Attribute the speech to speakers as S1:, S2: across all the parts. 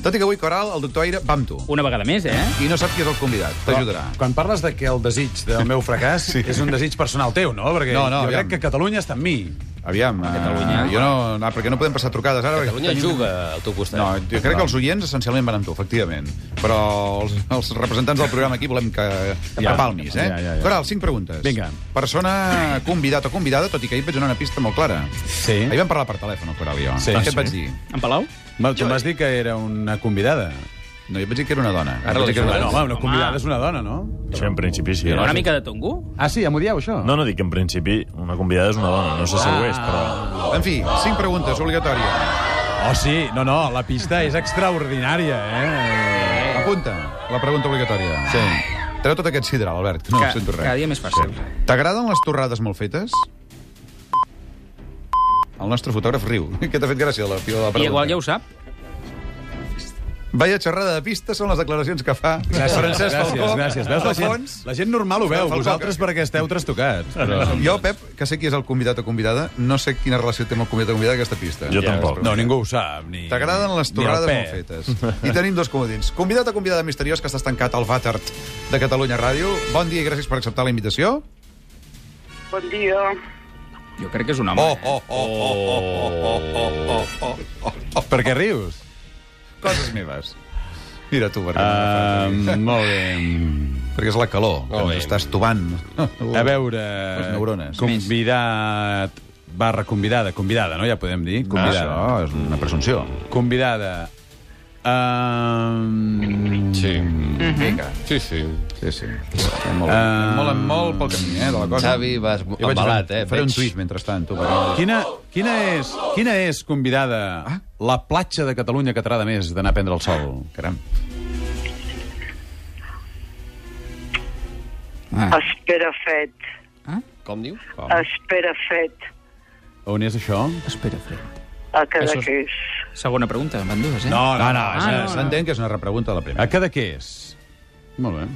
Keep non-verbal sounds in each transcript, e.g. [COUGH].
S1: Tot i que avui, Coral, el doctor Aire va amb tu.
S2: Una vegada més, eh?
S1: I no sap qui és el convidat. T'ajudarà.
S3: Quan parles de que el desig del meu fracàs [LAUGHS] sí. és un desig personal teu, no? Perquè
S1: No, no,
S3: jo
S1: aviam.
S3: crec que Catalunya està amb mi.
S1: Aviam,
S2: Catalunya.
S1: eh, jo no, no, perquè no podem passar trucades ara. perquè
S4: Catalunya
S1: tenim-
S4: juga al teu costat.
S1: No, jo crec que els oients essencialment van amb tu, efectivament. Però els, els representants del programa aquí volem que, que
S3: Ja.
S1: palmis, eh?
S3: Ja, ja, ja.
S1: Coral, cinc preguntes.
S3: Vinga.
S1: Persona convidat o convidada, tot i que ahir et vaig donar una pista molt clara.
S3: Sí.
S1: Ahir vam parlar per telèfon, Coral, jo.
S3: Sí,
S1: Què
S3: sí.
S1: et vaig dir?
S2: En Palau?
S3: Va, tu em vas dir que era una convidada.
S1: No, jo et vaig dir que era una dona.
S4: Ara
S1: Et vaig dir que era
S4: l'has
S1: una
S3: No,
S1: dona.
S3: home, una
S2: Home.
S3: convidada és una dona, no?
S5: Això en principi sí.
S2: Una
S5: Eh?
S2: mica de tongo?
S3: Ah, sí, ja m'ho dieu, això?
S5: No, no, dic que en principi una convidada és una dona. No sé si
S2: Ah.
S5: ho és, però...
S1: En fi, cinc preguntes obligatòries.
S3: Oh, sí, no, no, la pista és extraordinària, eh?
S1: Apunta la pregunta obligatòria. Sí. Treu tot aquest sidral, Albert, que no
S2: Ca-
S1: Ca sento
S2: Cada
S1: res.
S2: dia més fàcil.
S1: T'agraden les torrades molt fetes? El nostre fotògraf riu. [LAUGHS] Que t'ha fet gràcia la, la pregunta.
S2: I igual ja ho sap.
S1: Vaya xerrada de pista són les declaracions que fa gràcies, Francesc Falcó.
S3: gràcies, gràcies. Veus, la gent,
S1: Alfons?
S3: la gent normal ho veu,
S1: Falcó,
S3: vosaltres
S1: que-
S3: perquè esteu trastocats. Però...
S1: Jo, Pep, que sé qui és el convidat o convidada, no sé quina relació té amb el convidat o convidada aquesta pista.
S5: Jo tampoc.
S3: No, ningú ho sap. Ni...
S1: T'agraden les
S3: ni el
S1: torrades
S3: Pep.
S1: molt fetes. I tenim dos comodins. Convidat o convidada misteriós que està estancat al vàter de Catalunya Ràdio. Bon dia i gràcies per acceptar la invitació.
S6: Bon dia.
S2: Jo crec que és un home.
S1: Oh, oh, oh, oh, oh, oh, oh, oh, oh, oh,
S3: Per què rius?
S1: oh. Coses meves. Mira tu, perquè,
S3: [LAUGHS] Uh, molt bé.
S1: perquè és la calor, que ens
S4: molt bé.
S1: està estovant.
S3: A veure...
S1: Les neurones.
S3: Convidat... Barra convidada, convidada, no? Ja podem dir. Convidada.
S1: Ah, Això és una presumpció.
S3: Convidada. Um,
S4: Sí.
S1: Vinga.
S4: Sí, sí.
S1: Sí, sí. Molt, uh... molt, en molt pel camí, eh, de la cosa.
S4: Xavi, vas
S1: Jo vaig
S4: embalat,
S1: fer,
S4: eh?
S1: Faré un
S4: Veig.
S1: tuit mentrestant, tu. perquè-
S3: quina, quina, és, quina és convidada ah? la platja de Catalunya que t'agrada més d'anar a prendre el sol?
S1: Caram.
S2: Ah.
S6: Espera fet.
S4: Com diu?
S6: Espera fet.
S3: On és això?
S2: Espera, Fred.
S6: A
S2: Això és-
S6: Cadaqués.
S2: Segona pregunta, van dues, eh?
S3: no, no.
S1: Ah, no, S'entén que és una repregunta de la
S3: A
S1: primera.
S3: Cadaqués. Molt bé. [LAUGHS]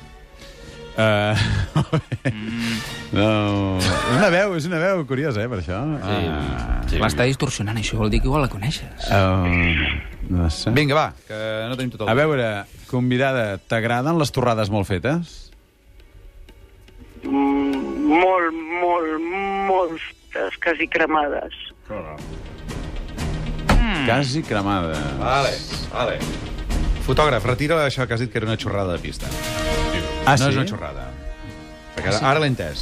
S3: Uh, no. És una veu, és una veu curiosa, eh, per això. Sí. Ah,
S4: Sí.
S2: L'està distorsionant, això vol dir que igual la coneixes.
S3: uh, no sé.
S1: Vinga, va, que no tenim tot el...
S3: A veure, convidada, t'agraden les torrades molt fetes?
S6: Mm, molt, molt, moltes, quasi cremades.
S3: Mm. Quasi cremades.
S1: Vale, vale. Fotògraf, retira això que has dit que era una xorrada de pista.
S3: Ah,
S1: no
S3: sí?
S1: és una xorrada. Perquè ara- ara l'he entès.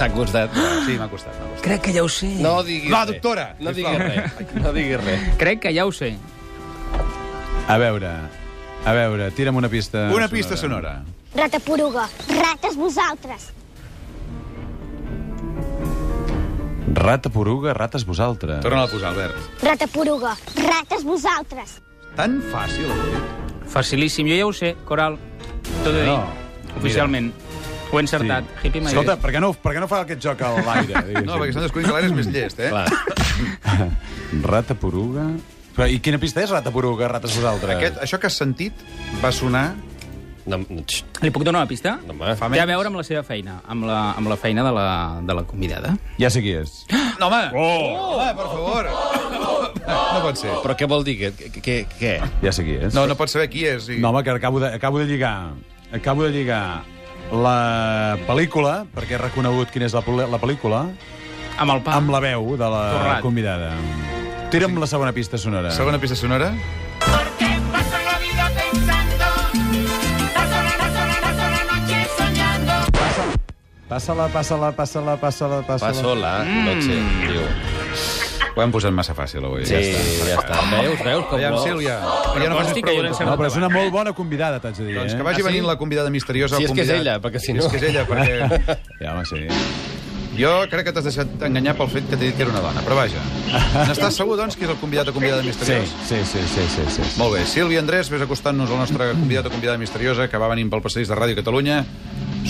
S4: T'ha costat.
S1: Sí, m'ha costat, m'ha costat.
S2: Crec que ja ho sé.
S4: No diguis
S1: Va,
S4: res.
S1: doctora,
S4: No
S1: sisplau.
S4: diguis res. No diguis res.
S2: Crec que ja ho sé.
S3: A veure, a veure, tira'm una pista
S1: Eh, Una pista sonora.
S7: Rata poruga, rates vosaltres.
S3: Rata poruga, rates vosaltres.
S1: Torna a posar, Albert.
S7: Rata poruga, rates vosaltres.
S1: Tan fàcil, eh? avui.
S2: Facilíssim, jo ja ho sé, Coral. T'ho he de dir,
S3: No,
S2: oficialment. Ho he encertat. Hippie Mayer.
S3: Escolta, per què, no, per què no fa aquest joc a
S1: [LAUGHS]
S3: l'aire? diguéssim?
S1: No, perquè s'han descobrit que l'Aire és més llest, eh?
S4: Clar.
S3: Rata poruga... Però, I quina pista és rata poruga, rates vosaltres?
S1: Aquest, això que has sentit va sonar...
S4: No, no, xxt,
S2: Li puc donar una pista?
S4: no, home.
S1: Fa
S2: Té a
S1: menys.
S2: veure amb la seva feina, amb la, amb la feina de la, de la convidada.
S3: Ja sé qui és.
S1: No, home! Oh! Home, per favor! No pot ser.
S4: Però què vol dir? Que, que, que, què?
S3: Ja sé qui és.
S1: No, no pot saber qui és. I...
S3: No, home, que acabo de, acabo de lligar. Acabo de lligar la pel·lícula, perquè he reconegut quina és la, pel·le- la pel·lícula,
S2: Amb el pa.
S3: amb la veu de la
S2: Torrat.
S3: convidada. Tira'm la segona pista sonora.
S1: Segona pista sonora.
S8: Porque paso la vida pensando, paso la, paso la, paso la noche soñando.
S3: Passa-la, passa-la, passa-la, passa-la, passa-la.
S4: Passo la noche, diu.
S1: Ho hem posat massa fàcil, avui.
S4: Sí, ja està. Veus, veus com
S1: Aviam,
S4: vol?
S1: Sílvia, ja no facis
S2: consti que jo l'he
S1: preguntes.
S3: No, però és una molt bona convidada, t'haig de dir.
S1: Doncs
S3: eh?
S1: que vagi
S4: Ah, sí?
S1: venint la convidada misteriosa.
S4: Si
S1: al
S4: és que és
S1: convidat.
S4: ella, perquè si
S1: Si
S4: no-
S1: És que és ella,
S4: [LAUGHS]
S1: perquè...
S3: Ja, home, sí.
S1: Jo crec que t'has deixat enganyar pel fet que t'he dit que era una dona, però [LAUGHS] vaja. N'estàs segur, doncs, que és el convidat o convidada
S3: Sí,
S1: misteriosa?
S3: sí, sí, sí, sí, sí. sí.
S1: Molt bé. Sílvia Andrés, vés acostant-nos al nostre convidat o convidada misteriosa que va venint pel passadís de Ràdio Catalunya,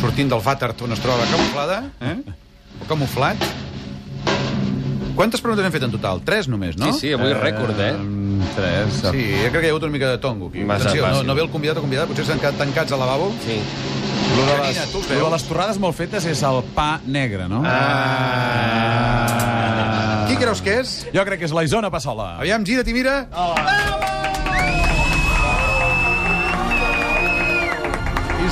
S1: sortint del vàter on es troba camuflada, eh? o camuflat. Quantes preguntes hem fet en total? Tres només, no?
S4: Sí, sí, avui rècord, eh?
S3: Um, tres.
S1: Sí, jo crec que hi ha hagut una mica de tongo aquí.
S4: Massa
S1: Atenció, no,
S4: fàcil.
S1: no ve el convidat o convidat, potser s'han quedat tancats al lavabo.
S4: Sí.
S3: Lo de,
S1: Carina,
S3: les,
S1: tu els
S3: lo de
S1: veus?
S3: les torrades molt fetes és el pa negre, no?
S1: Ah. Qui creus que és?
S3: Jo crec que és la Isona Passola.
S1: Aviam, gira't i mira.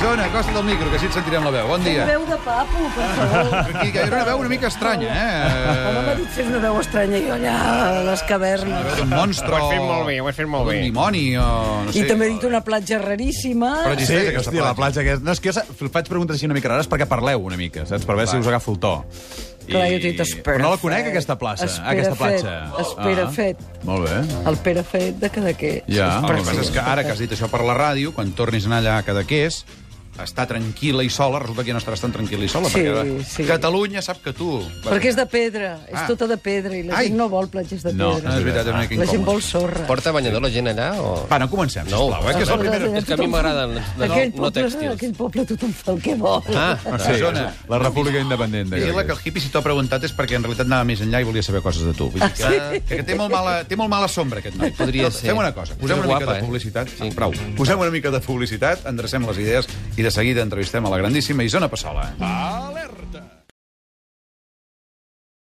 S1: Ona, acosta't al micro, que així et sentirem la veu. Bon dia.
S9: Veu de papo, per
S1: [LAUGHS]
S9: favor.
S1: Aquí, que era una veu una mica estranya,
S9: Home, m'ha
S1: eh?
S9: dit fes una veu estranya i jo allà a les
S1: Una
S9: cavernes.
S1: veu d'un monstre.
S4: Ho has fet molt bé, ho has fet molt
S1: o d'un
S4: bé.
S1: dimoni, o... No sé,
S9: I també he dit
S1: o-
S9: una platja raríssima.
S1: Però
S3: Sí,
S1: existeix aquesta
S3: hòstia, la platja aquesta... No, és que jo sa- faig preguntes així una mica rares perquè parleu una mica, saps? Per veure si us agafo el to.
S9: Clar, jo t'he dit, espera,
S3: Però no la conec,
S9: Fet.
S3: aquesta plaça.
S9: Espera,
S3: aquesta
S9: Fet.
S3: platja. Ah.
S9: Espera, Fet.
S3: Molt bé.
S9: El Pere Fet de Cadaqués.
S3: Ja.
S1: Ah, El que passa és que ara que has dit això per la ràdio, quan tornis a anar allà a Cadaqués, està tranquil·la i sola, resulta que ja no estaràs tan tranquil·la i sola,
S9: Sí,
S1: perquè
S9: sí.
S1: Catalunya sap que tu...
S9: Perquè és de pedra, és
S1: Ah.
S9: tota de pedra, i la
S1: Ai.
S9: gent no vol platges de
S3: No,
S1: No, eh,
S9: pedra.
S1: és veritat, és una mica
S9: la gent
S1: incòmode.
S9: vol sorra.
S4: Porta banyador la gent allà o...
S1: Va, no comencem,
S4: No.
S1: sisplau, eh, que és la
S9: Perdona,
S1: primera...
S9: ja
S4: És que a mi
S9: tothom-
S4: m'agraden els de
S9: Aquell
S4: no, no
S9: poble-
S4: tèxtils.
S9: Aquell poble tothom fa el que vol.
S4: Ah,
S3: Sí,
S1: Zona.
S3: la república independent. de
S1: Vigila que el hippie, si t'ho ha preguntat, és perquè en realitat anava més enllà i volia saber coses de tu. Vull dir que, que, que té, molt mala, té molt mala sombra, aquest noi.
S4: Ah, Podria
S1: Escolta,
S4: ser.
S1: Fem una cosa, posem una
S4: És guapa,
S1: mica de
S4: eh?
S1: publicitat.
S4: Sí.
S1: Prou. Posem una mica de publicitat, endrecem les idees i de seguida entrevistem a la grandíssima Isona Passola.
S3: A